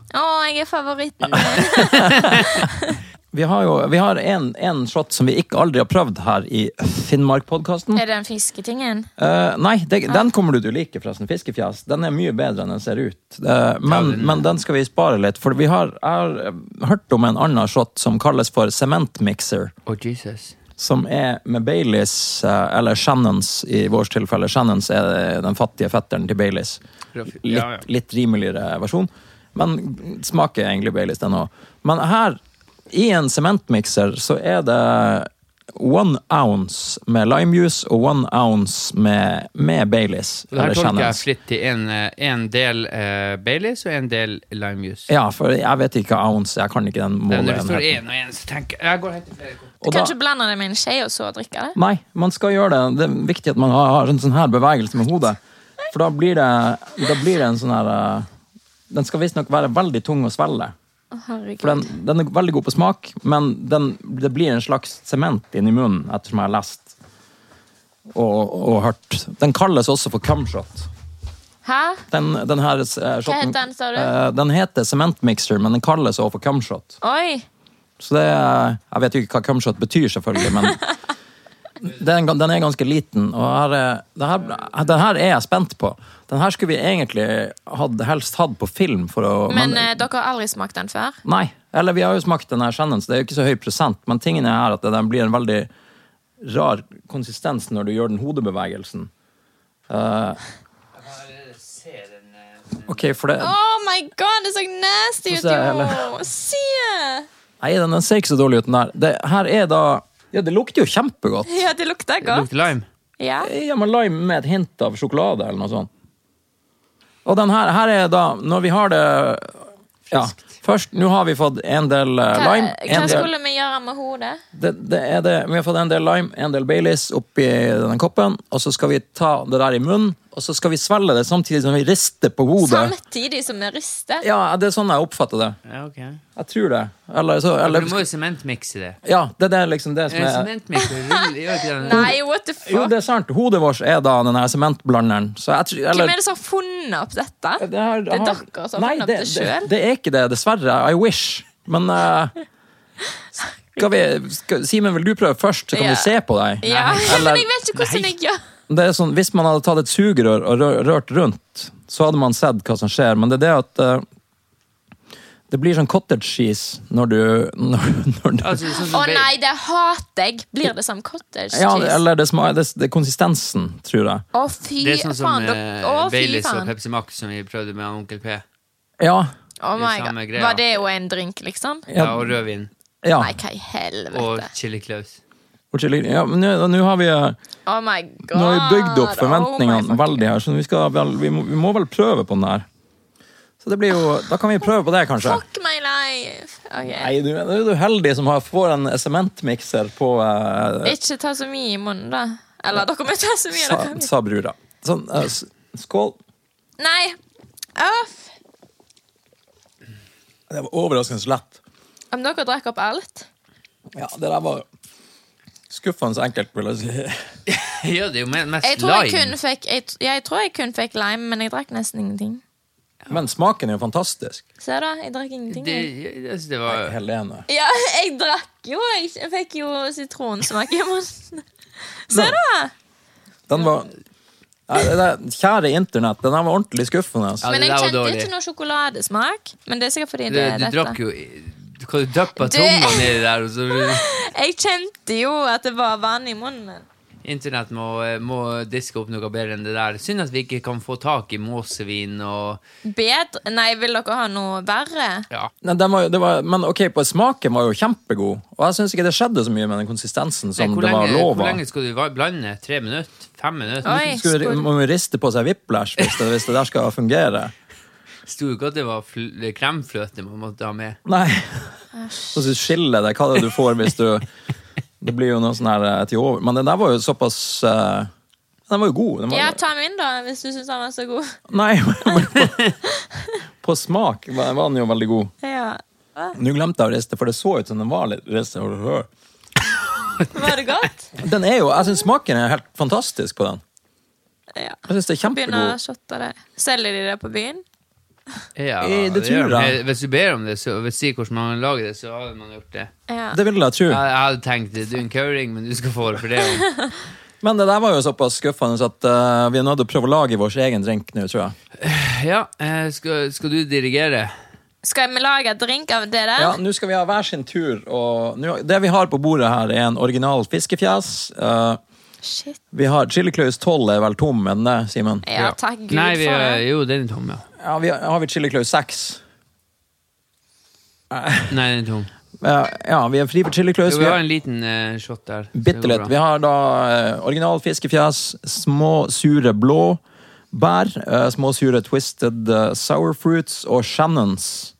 jeg er favoritten. vi har jo vi har en, en shot som vi ikke aldri har prøvd her i Finnmark-podkasten. Er det den fisketingen? Eh, nei, det, den kommer du til å like, forresten. Fiskefjes. Den er mye bedre enn den ser ut. Eh, men, men den skal vi spare litt, for vi har, jeg har eh, hørt om en annen shot som kalles for sementmixer. Å, Jesus. Som er med Baileys, eh, eller Shannons i vårt tilfelle. Shannons er den fattige fetteren til Baileys. Raff- Litt, ja, ja. litt rimeligere versjon. Men smaker egentlig Baileys, den òg. Men her, i en sementmikser, så er det one ounce med limejuice og one ounce med, med Baileys. Og det her eller tolker jeg Shannons. fritt til en, eh, en del eh, Baileys og en del limejuice. Ja, for jeg vet ikke hva ounce Jeg kan ikke den Men måleenheten. Når det står én og én, så tenker jeg Jeg går og henter flere kopper. Du Og kan da- ikke blande det med en skje og så drikke det. Nei, man skal gjøre det. Det er viktig at man har har en sånn her bevegelse med hodet. For da blir det, da blir det en sånn her eh, Den skal visstnok være veldig tung å svelge. Å, herregud. For den, den er veldig god på smak, men den, det blir en slags sement inni munnen, ettersom jeg har lest og, og hørt. Den kalles også for cumshot. Hæ? Den, den her, eh, shotten, heter den, sa du? eh, den heter sementmixer, men den kalles også for cumshot. Oi! Så det er, Jeg vet jo ikke hva cumshot betyr, selvfølgelig, men den, den er ganske liten. Og her, er- det her, den her er jeg spent på. Den her skulle vi egentlig hatt- helst hatt på film. For å, Men eh, dere har aldri smakt den før? nei, eller vi har jo smakt den her Shannons, det er jo ikke så høy prosent, men tingen er her at den blir en veldig rar konsistens når du gjør den hodebevegelsen. eh, Ok, for det... Oh my god, det så nasty ut, Få se, jo! eller? Se! Nei, den den ser ikke så dårlig ut, den der. Det her er da Ja, det lukter jo kjempegodt. Ja, det lukter Det godt. Lukter lime. Ja. Eh, Ja, men lime med et hint av sjokolade eller noe sånt. Og den her, her er da Når vi har det ja, Først, nå har vi fått en del eh, Hva, lime. hva En del, skulle vi gjøre med hodet? det, det er det. Vi har fått en del lime, en del Baileys oppi denne koppen. Og så skal vi ta det der i munnen, og så skal vi svelge det samtidig som vi rister på hodet. Samtidig som vi rister? Ja, Det er sånn jeg oppfatter det. Ja, ok. Jeg tror det. Eller så Men eller, Du må jo sementmikse det. Ja, det, det er liksom det som er Sementmikse ruller gjør ikke det? Nei, what the Jo, fuck? det er sant. Hodet vårt er da den her sementblanderen. Så jeg tror Hvem eller- er det som har funnet opp dette? Det, her, er dere som har Nei, funnet opp det selv. Det, det er ikke det, dessverre. I wish. Men eh, skal vi, skal, Simen, vil du prøve først, så kan Ja. vi se på deg? Ja, Eller- [laughs] men jeg vet ikke hvordan Nei. jeg gjør Det er sånn, hvis man hadde tatt et sugerør og rø- rørt rundt, så hadde man sett hva som skjer, men det er det at eh, Det blir sånn cottage cheese når du når, når det, Altså, sånn som Å ba- nei, det hater jeg! Blir det som cottage Ja, cheese? eller det, sma- det, det er konsistensen, tror jeg. Å, fy Det er sånn som faen! eh, dere- Å, fy Baileys og faen! Pepsi Max som vi prøvde med han Onkel P. Ja. det Oh er my samme god. greia. Var det jo en drink, liksom? Ja, og rødvin. ja. Nei, hva i Og helvete? chili claus. Og chili- ja men nå nå har vi eh, Oh my god! Nå har vi bygd opp Oh my forventningene fucking- veldig her, så vi, skal vel, vi, må, vi må vel prøve på den her. Så det blir jo, da kan vi prøve på det, kanskje. Fuck my life! Ok. Nei, du, nå er du heldig som har, får en sementmikser på eh, Ikke ta så mye i munnen, da. Eller dere må ta så mye. sa, dere kan- sa brura. Sånn, eh, s- skål. Nei! Uff! Det var overraskende så lett. Om dere drakk opp alt? Ja, det der var skuffende enkelt, vil jeg si. [laughs] ja, det er jo me- mest Jeg tror jeg, lime. kun fikk, jeg, t- jeg tror jeg kun fikk lime, men jeg drakk nesten ingenting. Men smaken er jo fantastisk. Se da, jeg drakk ingenting. Det, jeg. jeg- jeg synes det var Helene. Ja, jeg drakk jo! Jeg jeg fikk jo sitronsmak i [laughs] munnen. Se da! Den var Nei, det der, Kjære internett, den her var ordentlig skuffende. Altså. Ja, det Men jeg der var kjente dårlig. ikke noe sjokoladesmak. Men det er sikkert fordi Du, det er du drakk dette. jo Du kan jo dyppe Det- tunga nedi der, og så [laughs] Jeg kjente jo at det var vann i munnen. Internett må, eh, må diske opp noe bedre enn det der. Synd at vi ikke kan få tak i måsevin og Bedre Nei, vil dere ha noe verre? Ja. Nei, den var, jo- det var, men ok, på smaken var jo kjempegod, og jeg syns ikke det skjedde så mye med den konsistensen som Nei, hvor, det var lenge, lov hvor av. lenge skal du va- blande? Tre minutter? Fem minutter? Oi, Skulle- skål. Må vi riste på seg whiplash hvis det, hvis det der skal fungere? Sto ikke at det var fl kremfløte man måtte ha med. Nei. Så skal du skille det. Hva er det du får hvis du Det blir jo noe sånn her eh, til over. Men den der var jo såpass eh, Den var jo god. Den var, Ja, ta min, da, hvis du syns den var så god. [laughs] Nei, [laughs] men på, på smak var var den jo veldig god. Ja. Hva? Nå glemte jeg å riste, for det så ut som den var litt ristet. Var det [laughs] godt? Den er jo, Jeg syns smaken er helt fantastisk på den. Ja. Jeg synes det er Begynner å kjempegod. shotte det. Selger de det på byen? Ja, Eh, det tror gjør man. jeg. Hvis du ber om det, så, og vil si hvordan man lager det, så hadde man gjort det. Ja. Det vil jeg tro. Jeg, jeg hadde tenkt du er en køring, men du skal få det for det. [laughs] også. Men det der var jo såpass skuffende så at eh, vi er nødt til å prøve å lage vår egen drink nå, tror jeg. Ja, eh, skal, skal du dirigere? Skal vi lage drink av det der? Ja, Nå skal vi ha hver sin tur. Og nå- det vi har på bordet her, er en original fiskefjes. Eh, Shit. vi har Chili Claus 12 er vel tom, men det, Simen? Ja, takk Gud Nei, vi, for det. jo, den er tom, ja. Ja, vi har, har vi Chili Claus 6? Nei, den er tom. Eh, ja, vi er fri for Chili Claus. Jo, vi har en liten eh, shot der. så det går Bitte litt. bra. Vi har da eh, original fiskefjes, små sure blå bær, eh, små sure twisted eh, sour fruits og Shannons.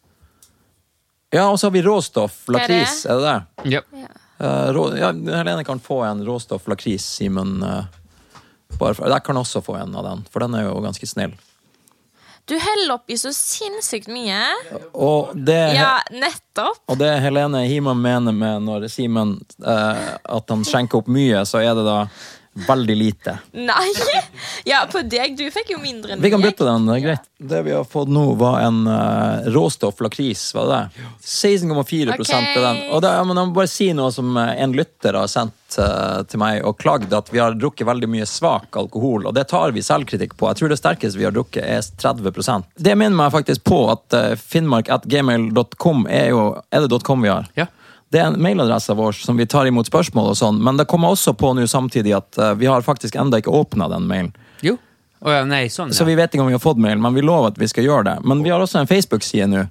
Ja, og så har vi råstoff, Hva er det? lakris, er det det? Ja. Ja. Eh, rå, ja, Helene kan få en råstoff lakris, Simen. eh, bare for- jeg kan også få en av den, for den er jo ganske snill. Du heller oppi så sinnssykt mye. Og det, Ja, nettopp. og det Helene Hima mener med når Simen eh, at han skjenker opp mye, så er det da veldig lite. Nei! [laughs] Ja, på deg. Du fikk jo mindre enn Vi kan meg. bytte den, det er greit. Det vi har fått nå, var en eh, råstoff lakris, var det? 16,4 er den. Og det, ja, men jeg må bare si noe som eh, en lytter har sendt eh, til meg og klagd, at vi har drukket veldig mye svak alkohol, og det tar vi selvkritikk på. Jeg tror det sterkeste vi har drukket, er 30 Det minner meg faktisk på at eh, finnmark.gmail.com er jo Er det .com vi har? Ja. Det er en mailadresse vår som vi tar imot spørsmål og sånn, men det kommer også på nå samtidig at eh, vi har faktisk enda ikke åpna den mailen. Jo. Å ja, nei, sånn, Så ja. vi vet ikke om vi har fått mail, men vi lover at vi skal gjøre det. Men vi har også en Facebook-side nå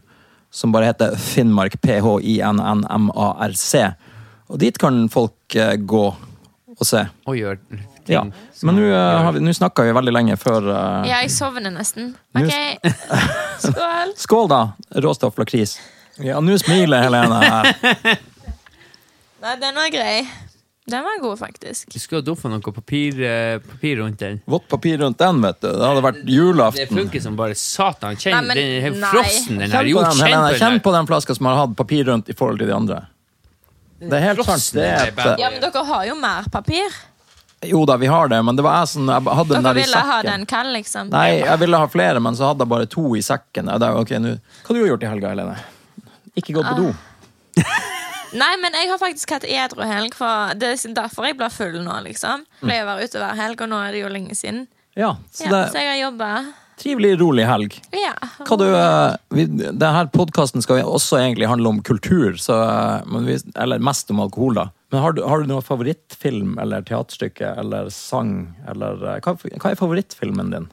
som bare heter Finnmark, P-H-I-N-N-M-A-R-C. Og dit kan folk eh, gå og se. Å gjør ting. Ja. Men nå uh, snakka vi veldig lenge før eh, Ja, jeg sovner nesten. OK. [laughs] Skål. Skål, da! Råstoff lakris. Ja, nå smiler Helene her. Nei, den var grei. Den var god, faktisk. Du skulle ha dumpa noe papir, eh, papir rundt den. Vått papir rundt den, vet du. Det hadde vært Det julaften. funker som bare satan. Kjenn Nei, men- den er nei. frossen, den Kjenn her. på Jo, den, Helene. kjenn Kjenn på den. på den flaska som har hatt papir rundt i forhold til de andre. Det er helt sant. Det er et, eh, Ja, men dere har jo mer papir. Jo da, vi har det, men det var jeg som jeg hadde den Dere der i ville sekken. ha den kald, liksom. Nei, jeg ville ha flere, men så hadde jeg bare to i sekken. Ja, det er jo ok, nå. Ah. Hva har du gjort i helga, Helene? Ikke gått på do. Nei, men jeg har faktisk hatt edru helg, for det er derfor jeg blir full nå, liksom. Pleier å være ute hver helg, og nå er det jo lenge siden. Ja, Mm. så Ja, det, så jeg har jobba. trivelig, rolig helg. Ja. Hva du, eh, vi, denne podkasten skal jo også egentlig handle om kultur, så, eh, men vi, eller mest om alkohol, da. Men har du, har du noen favorittfilm eller teaterstykke eller sang? Eller, eh, hva, hva er favorittfilmen din?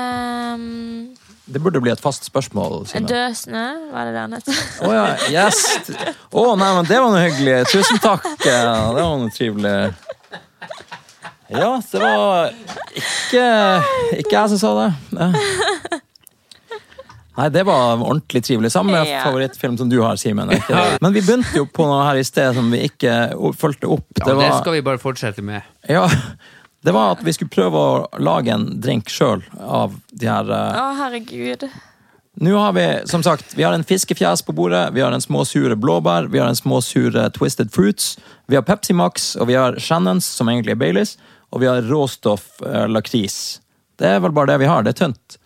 Ehm, Det burde bli et fast spørsmål. Simen. Døsne, var det det han het? Å ja, yes! Å, nei, men det var noe hyggelig. Tusen takk. eh, Det var noe trivelig. Ja, det var ikke, ikke jeg som sa det. Ja. Nei, det var ordentlig trivelig. Samme Ja. favorittfilm som du har, Simen. er ikke det? Men vi begynte jo på noe her i sted som vi ikke o- fulgte opp. Ja, det, var, skal vi bare fortsette med. ja, det var at vi skulle prøve å lage en drink sjøl av de her eh, Å, herregud. nå har vi som sagt, vi har en fiskefjes på bordet, vi har en små sure blåbær, vi har en små sure Twisted Fruits, vi har Pepsi Max, og vi har Shannons, som egentlig er Baileys, og vi har råstoff eh, lakris. Det er vel bare det vi har, det er tynt.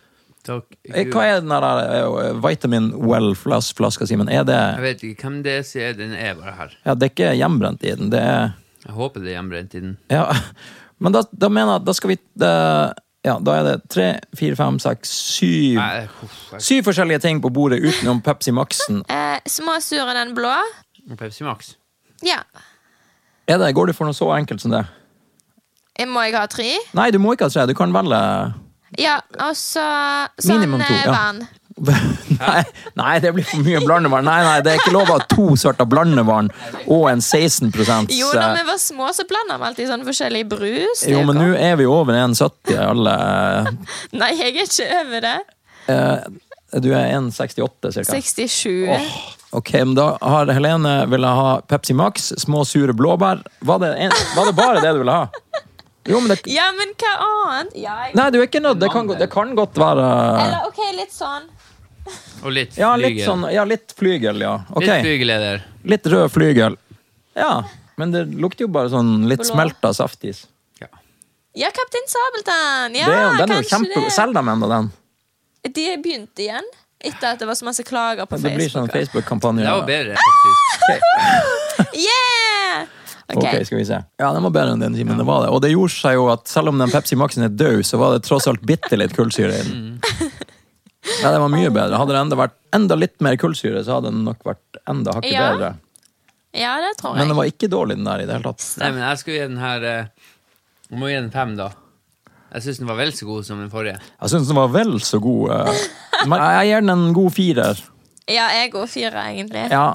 Takk. Eh, Hva er den der eh, Vitamin Well-flaska, Simen? Er det Jeg vet ikke hvem det er, så er den er bare her. Ja, det er ikke hjemmebrent i den, det er Jeg håper det er hjemmebrent i den. Ja, [laughs] men da, da mener jeg at da skal vi eh, Ja, da er det tre, fire, fem, seks, syv Nei, uff, jeg- Syv forskjellige ting på bordet utenom Pepsi Maxen. Eh, små sure den blå. Pepsi Max. Ja. Er det, går det for noe så enkelt som det? Eh, Må jeg ha tre? Nei, du må ikke ha tre. Du kan velge [laughs] Ja, og så sånn Minimum to, eh, ja. vann. nei, nei, det blir for mye blandevann. Nei, nei, det er ikke lov å ha to sorter blandevann og en 16 Jo, når eh, vi var små, så blanda vi alltid sånn forskjellig brus. Det er Jo, men nå godt. er vi over 1,70 alle. Nei, jeg er ikke over det. Eh, Du er 1,68 cirka. 67. Ok, men da har Helene ville ha Pepsi Max, små sure blåbær. Var det, en, var det bare det du ville ha? Jo, men det Ja, men hva annet? Ja, jeg... Nei, du er ikke nødt. Det kan, det kan godt være Eller OK, litt sånn. Og litt Ja, litt flygel. sånn Ja, litt flygel, ja. Ok. Litt flygeleder. Litt rød flygel. Ja, men det lukter jo bare sånn litt Blå. smelta saftis. Ja. Ja, Kaptein Sabeltann! Ja, det er, jo- den er jo kanskje kjempe... det. Selg dem enda, den. De begynte igjen, etter at det var så masse klager på Det blir sånn Facebook. Det Facebook-kampanje. var bedre, faktisk. Yeah! Ok, sånn. Ok, skal vi se. Ja, den var bedre enn den timen. Det var det. Og det gjorde seg jo at selv om den Pepsi Maxen er død, så var det tross alt bitte litt kullsyre i den. Mm. Ja, det var mye bedre. Hadde det enda vært enda litt mer kullsyre, så hadde den nok vært enda hakket Ja, bedre. Ja, det tror Men jeg. den var ikke dårlig, den der, i det hele tatt. Nei, men jeg skal gi den her eh, Jeg må gi den fem, da. Jeg syns den var vel så god som den forrige. Jeg syns den var vel så god. [laughs] eh. Men jeg gir den en god firer. Ja, jeg går fire, egentlig. Ja.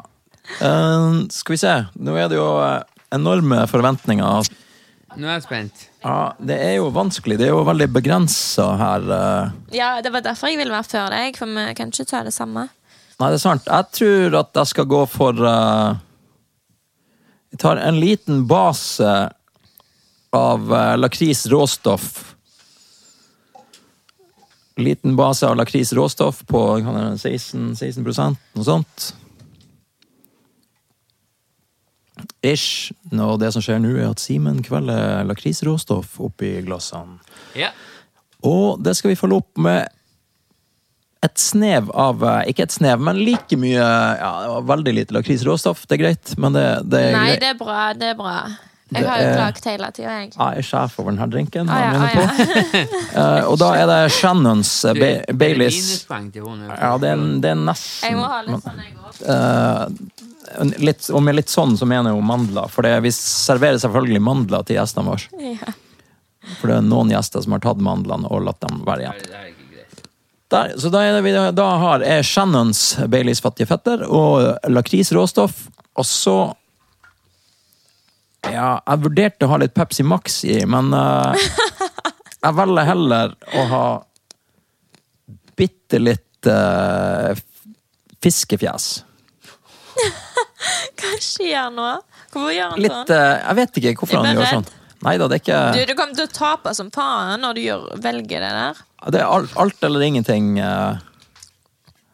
Eh, skal vi se. Nå er det jo eh, enorme forventninger. Nå er jeg spent. Ja, det er jo vanskelig. Det er jo veldig begrensa her. eh. Ja, Det var derfor jeg ville være før deg, for vi kan ikke ta det samme. Nei, det er sant. Jeg tror at jeg skal gå for eh, Jeg tar en liten base av eh, lakris råstoff. Liten base av lakris råstoff på hva er det, 16, 16 noe sånt. Ish. Og det som skjer nå, er at Simen kveller lakrisråstoff oppi glassene. Ja. Og det skal vi følge opp med et snev av eh, Ikke et snev, men like mye ja, det var Veldig lite lakrisråstoff. Det er greit, men det, det er Nei, greit. det er bra. det er bra. Jeg har jo Det er- klaget hele tida, jeg. Ja, Ah, Jeg er sjef over denne drinken. Ah, jeg ja, mener ah, ja. [laughs] på. [laughs] Eh, og da er det Shannons eh, Du, Ba- det er Baileys Minuspoeng til henne. Ja, det er, det er Jeg nesten må ha litt sånn, jeg òg. eh, litt, Og med litt sånn så mener jeg jo mandler, for det, vi serverer selvfølgelig mandler til gjestene våre. Ja. For det er noen gjester som har tatt mandlene og latt dem være igjen. Nei, det er ikke greit. Der, så da, er det vi, da har jeg Shannons Baileys fattige fetter og lakris råstoff. Og så Ja, jeg vurderte å ha litt Pepsi Max i, men eh, jeg velger heller å ha bitte litt eh, fiskefjes. Hva skjer nå? Hvorfor gjør han Litt sånn? eh, Jeg vet ikke hvorfor Er han du gjør redd? sånn. Nei da, det er ikke Du, du kommer til å tape som faen når du gjør, velger det der. Det er alt, alt eller ingenting. eh.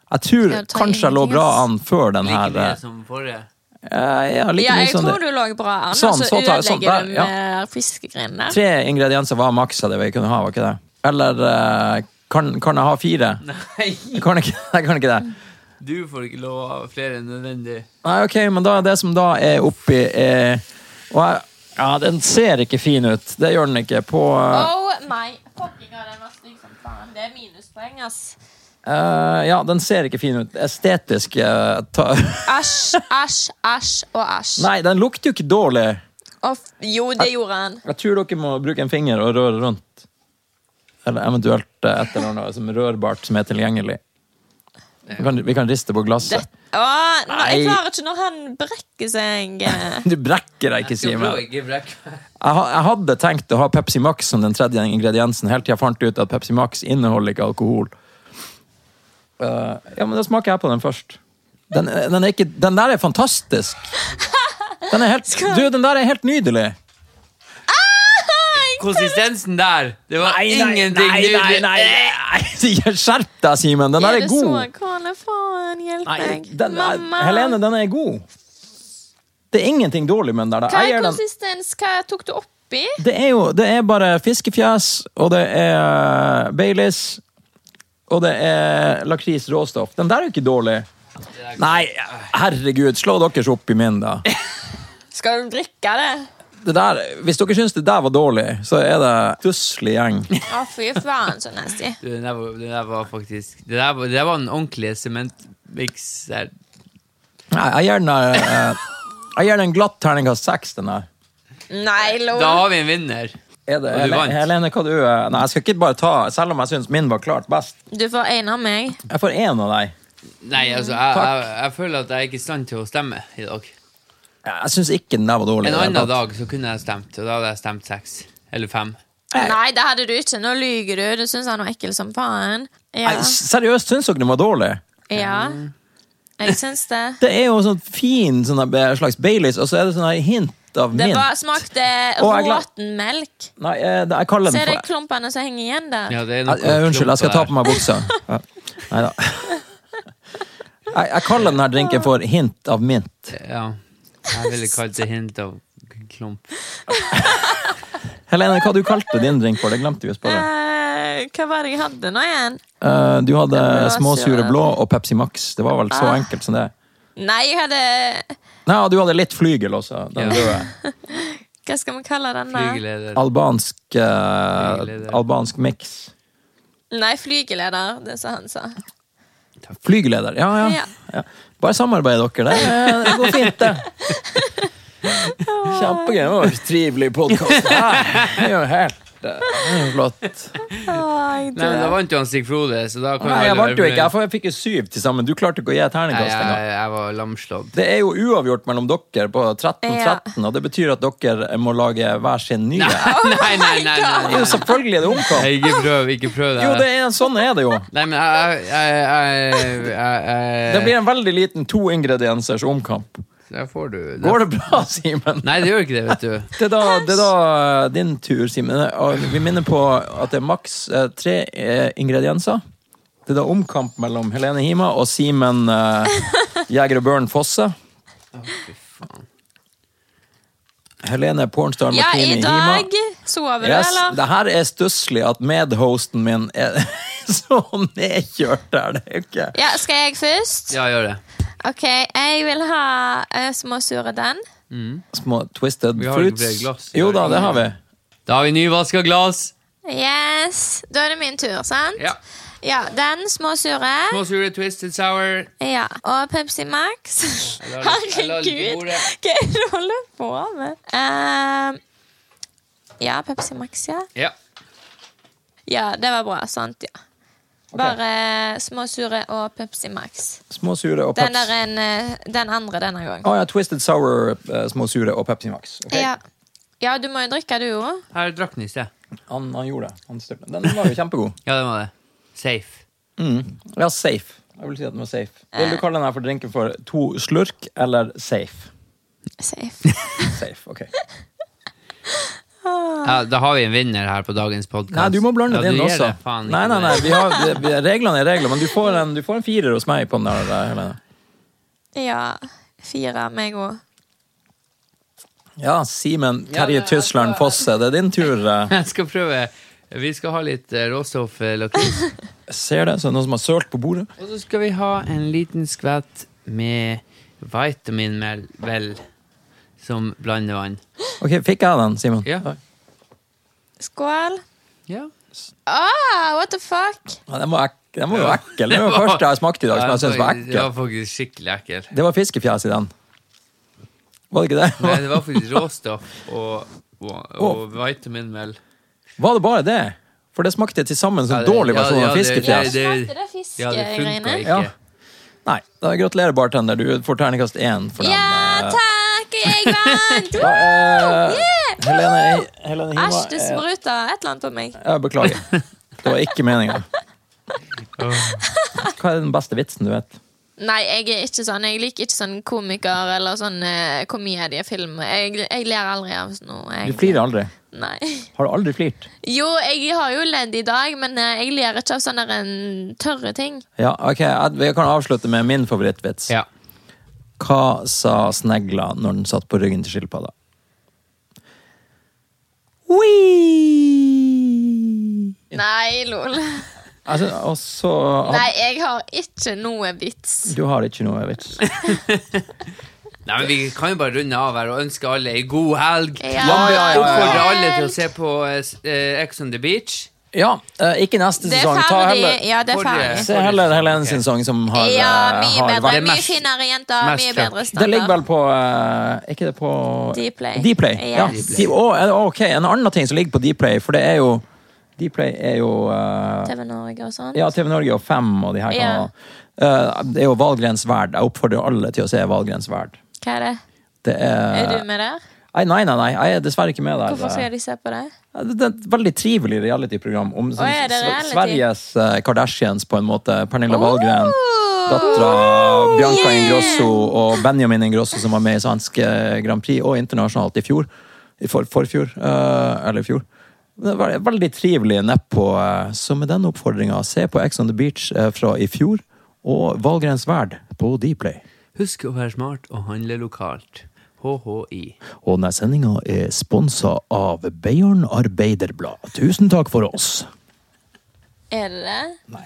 jeg tror Skal jeg ta kanskje jeg lå ingenting, bra ass? an før den Like her. mye eh, som forrige. eh, ja, like Ja, mye jeg som det- tror du lå bra an, Sånn, og så så tar jeg sånn, ødelegger eh, der, du ja. med fiskegreiene der. Tre ingredienser var maks av det vi kunne ha, var ikke det? Eller eh, kan, kan jeg ha fire? Nei, Jeg kan ikke, [laughs] jeg kan ikke det. du får ikke lov å ha flere enn nødvendig. Nei, ok, men da det som da er oppi er, og jeg, Ja, den ser ikke fin ut. Det gjør den ikke på eh, Oh my fucking god, den var stygg som faen. Det er minuspoeng, ass. Eh, ja, den ser ikke fin ut. Estetisk eh, ta... [laughs] Æsj, æsj, æsj og æsj. Nei, den lukter jo ikke dårlig. Og f- Jo, det gjorde han. Jeg tror dere må bruke en finger og røre rundt. Eller eventuelt eh, et eller annet som er rørbart som er tilgjengelig. Vi kan, vi kan riste på Det, glasset. å, nå, Nei. jeg klarer ikke når han brekker [laughs] seg. Du brekker deg ikke, Jeg tror Simen. ikke brekk. Jeg, ha- jeg hadde tenkt å ha Pepsi Max som den tredje ingrediensen, helt til jeg fant ut at Pepsi Max inneholder ikke alkohol. Eh, ja, men da smaker jeg på den først. Den, den, er ikke, den der er fantastisk! Den er [laughs] helt, du, den der er helt nydelig! Konsistensen der, det var ingenting nydelig. nei. [laughs] Skjerp deg, Simen! Den der er god! Kåle, faen, hjelp Nei, meg. den er, Mamma. Helene, den er god. Det er ingenting dårlig med den der. Hva Jeg er gir den. konsistens? Hva tok du oppi? Det er jo det er bare fiskefjes, og det er eh, Baileys, og det er lakris råstoff. Den der er jo ikke dårlig. Nei, herregud, slå deres opp i min, da. Skal du drikke det? Det der, hvis dere syns det der var dårlig, så er det tusselig gjeng. Å, fy faen, så nasty. Du, Det der, var- det der var faktisk Det der, var- det der var en ordentlig sementmiks der. Nei, jeg gir den der eh, Jeg gir den glatt terningkast seks, den der. Nei, lol. Da har vi en vinner. Er det, Og du vant. Helene, hva du eh, Nei, jeg skal ikke bare ta Selv om jeg syns min var klart best. Du får en av meg. Jeg får én av deg. Nei, altså, jeg, jeg, jeg føler at jeg ikke er i stand til å stemme i dag. Jeg syns ikke den der var dårlig. En i det hele annen tatt. dag så kunne jeg stemt, og da hadde jeg stemt seks. Eller fem. Eh. Nei, det hadde du ikke. Nå lyger du. Du syns han var ekkel som faen. Ja. Nei, s- seriøst, syns dere den var dårlig? ja. Jeg syns det. Det er jo sånn fin sånn der be- slags Baileys, og så er det sånn her hint av Det mint. var, smakte Å, jeg glad- råten melk. Nei, eh, det- jeg kaller Se den de for klumpene som henger igjen der. Ja, det er noe Eh, eh, Unnskyld, jeg skal ta klumper på meg buksa. Ja. Nei da. [laughs] Jeg, jeg kaller den her drinken for hint av mint. der. Ja. Jeg ville kalt det hint av klump. Helene, hva du kalte din drink for? Det glemte vi å spørre. Eh, hva var det jeg hadde nå igjen? Eh, du hadde Det var småsure sure. blå og Pepsi Max. Det var vel så Ah. enkelt som det. Nei, jeg hadde Nei, og du hadde litt flygel også. Den Ja. røde. Hva skal vi kalle den, da? Flygeleder. Albansk, eh, Flygeleder. albansk mix. Nei, flygeleder. Det sa han sa. Flygeleder, ja, ja. Ja. ja. Bare samarbeid dere, det, eh, det går fint, det. [laughs] Kjempegøy. Det var en Trivelig [laughs] podkast. Det er jo helt eh, flott. Nei, Ai, men da du. vant jo han Stig Frode, så da kan Nei, alle jeg være vant jo ikke. Jeg fornøyd. får- Jeg fikk jo syv til sammen. Du klarte ikke å gi et Nei, terningkast jeg, engang. jeg var lamslått. Det er jo uavgjort mellom dere på 13-13, og det betyr at dere må lage hver sin nye. [laughs] Nei, nei, nei! nei, Det er nei, jo selvfølgelig det omkamp. Nei, Ikke prøv, ikke prøv det. Jo, det er, sånn er det jo. Nei, men jeg Jeg, jeg, jeg, jeg Det blir en veldig liten to-ingrediensers omkamp. Der får du der- Går det bra, Simen? Nei, det gjør ikke det, vet du. Det er da, det er da eh, din tur, Simen. Og Vi minner på at det er maks eh, tre eh, ingredienser. Det er da omkamp mellom Helene Hima og Simen [laughs] eh, Jeger og Børn Fosse. Fy faen. Helene Pornstar Ja, i Martini Hima. dag sover du, Yes, eller? det her er stusslig at medhosten min er [laughs] så nedkjørt der. Det er jo ikke Ja, skal jeg først? Ja, gjør det. Ok, jeg vil ha eh, småsure den. små twisted Vi har ikke fruits. flere glass. Jo da, det har vi. Da har vi nyvaska glass. Yes! Da er det min tur, sant? Ja. Ja, den småsure. Små sure twisted sour. Ja, og Pepsi Max. la [laughs] litt- jeg la litt på Herregud, bordet. hva er det du holder på med? Ehm, ja, Pepsi Max, ja. Ja. Ja, det var bra. Sant, ja. Bare småsure og Pepsi Max. Små sure og Den, der Pepsi. en, eh, den andre denne gangen. Å ja, Twisted Sour, eh, små sure og Pepsi Max. Ok. Ja. ja, du må jo drikke, du òg. Her drakk den i sted. Han, han gjorde det. Han styrte. den var jo kjempegod. Ja, det var det. Safe. Mm. Ja, safe. Jeg vil si at den var safe. Vil du kalle den her for drinken for to slurk eller safe? [laughs] Safe. Safe, ok. Ja, da har vi en vinner her på dagens podkast. Nei, du må blande ja, den du gir også. det faen ikke Nei, nei, nei, det. vi har, vi, reglene er regler, men du får, en, du får en firer hos meg på den der, eh, Helene. Ja. Fire, meg òg. Ja, Ja, men Simen Terje jeg Tysland skal- Fosse, det er din tur. eh. [laughs] Jeg skal prøve. Vi skal ha litt eh, råstoff eh, lakris. Ser det, så er det noen som har sølt på bordet. Og så skal vi ha en liten skvett med vitaminmel vel, som blandevann. Ok, fikk jeg den, Simen? Ja. Skål. Ja. Ah, what the fuck? Ja, den, var ek, den var jo ekkel. Det var den første jeg smakte i dag som jeg syntes var Det var ekkel. faktisk skikkelig ekkel. Det var fiskefjes i den. Var det ikke Nei, det? det var faktisk råstoff og, og, og vitaminmel. Var det bare det? For det smakte til sammen som Ja, det- dårlig ja, versjon ja, av det- fiskefjes. det- Smakte det Ja, det funka fiskegreiene? ikke. Ja. Nei, da gratulerer, bartender. Du får terningkast én for den. Ja, eh. takk! [laughs] Jeg vant! Da, eh, Yeah! Helene, Helene Hima Æsj, det eh, spruta et eller annet på meg. Jeg beklager. [laughs] Det var ikke meninga. Hva er den beste vitsen du vet? Nei, jeg er ikke sånn. Jeg liker ikke sånn komiker eller sånn eh, komediefilm. Jeg, jeg ler aldri av sånn noe. Du Jeg, flirer aldri. nei. Har du aldri flirt? Jo, jeg har jo ledd i dag, men eh, jeg ler ikke av sånne eh, tørre ting. Ja, ok, jeg- Vi kan avslutte med min favorittvits. Ja. Hva sa snegla når den satt på ryggen til skilpadda? Ui! Nei, lol. Altså, og så Nei, jeg har ikke noe vits. Du har ikke noe vits. Nei, men Vi kan jo bare runde av her og ønske alle ei god helg. Ja, ja, ja, ja. Oppfordre alle til å se på eh, s- eh, Ex on the Beach. [laughs] Ja, eh, ikke neste Det er sesong. Ta ferdig. heller, Ja, det er Forrige. ferdig. se heller Helene sin sang, som har, eh, Ja, mye har bedre. Det er Mye mest- finere jenter. mest Mye trøkk. bedre Det ligger standard. vel på eh, Er ikke det på Dplay. Dplay, Ja. Yes. Di- å, eh, ok, en annen ting som ligger på Dplay, for det er jo Dplay er jo eh, TV Norge og sånn. Ja, TV Norge og Fem og de her Ja. kanalene. Eh, det er jo Valgrens verd. Jeg oppfordrer alle til å se Valgrens verd. Hva er det? Det er, Er du med der? Nei, nei, nei, nei, jeg er dessverre ikke med der. Hvorfor skal de se på det? Det det er et veldig trivelig reality-program om sånn, er det Sve- reality? Sveriges eh, Kardashians, på en måte. Pernilla Wahlgren, Oh! dattera Bianca Yeah! Ingrosso og Benjamin Ingrosso, som var med i svensk eh, Grand Prix og internasjonalt i fjor. I for, forfjor. eh, eller i fjor. Det var et veldig trivelig nedpå. eh, så med den oppfordringa, se på Ex on the Beach eh, fra i fjor og Valgrens verd på Dplay. Husk å være smart og handle lokalt. HHI. Og denne sendinga er sponsa av Beiarn Arbeiderblad. Tusen takk for oss. Er det det?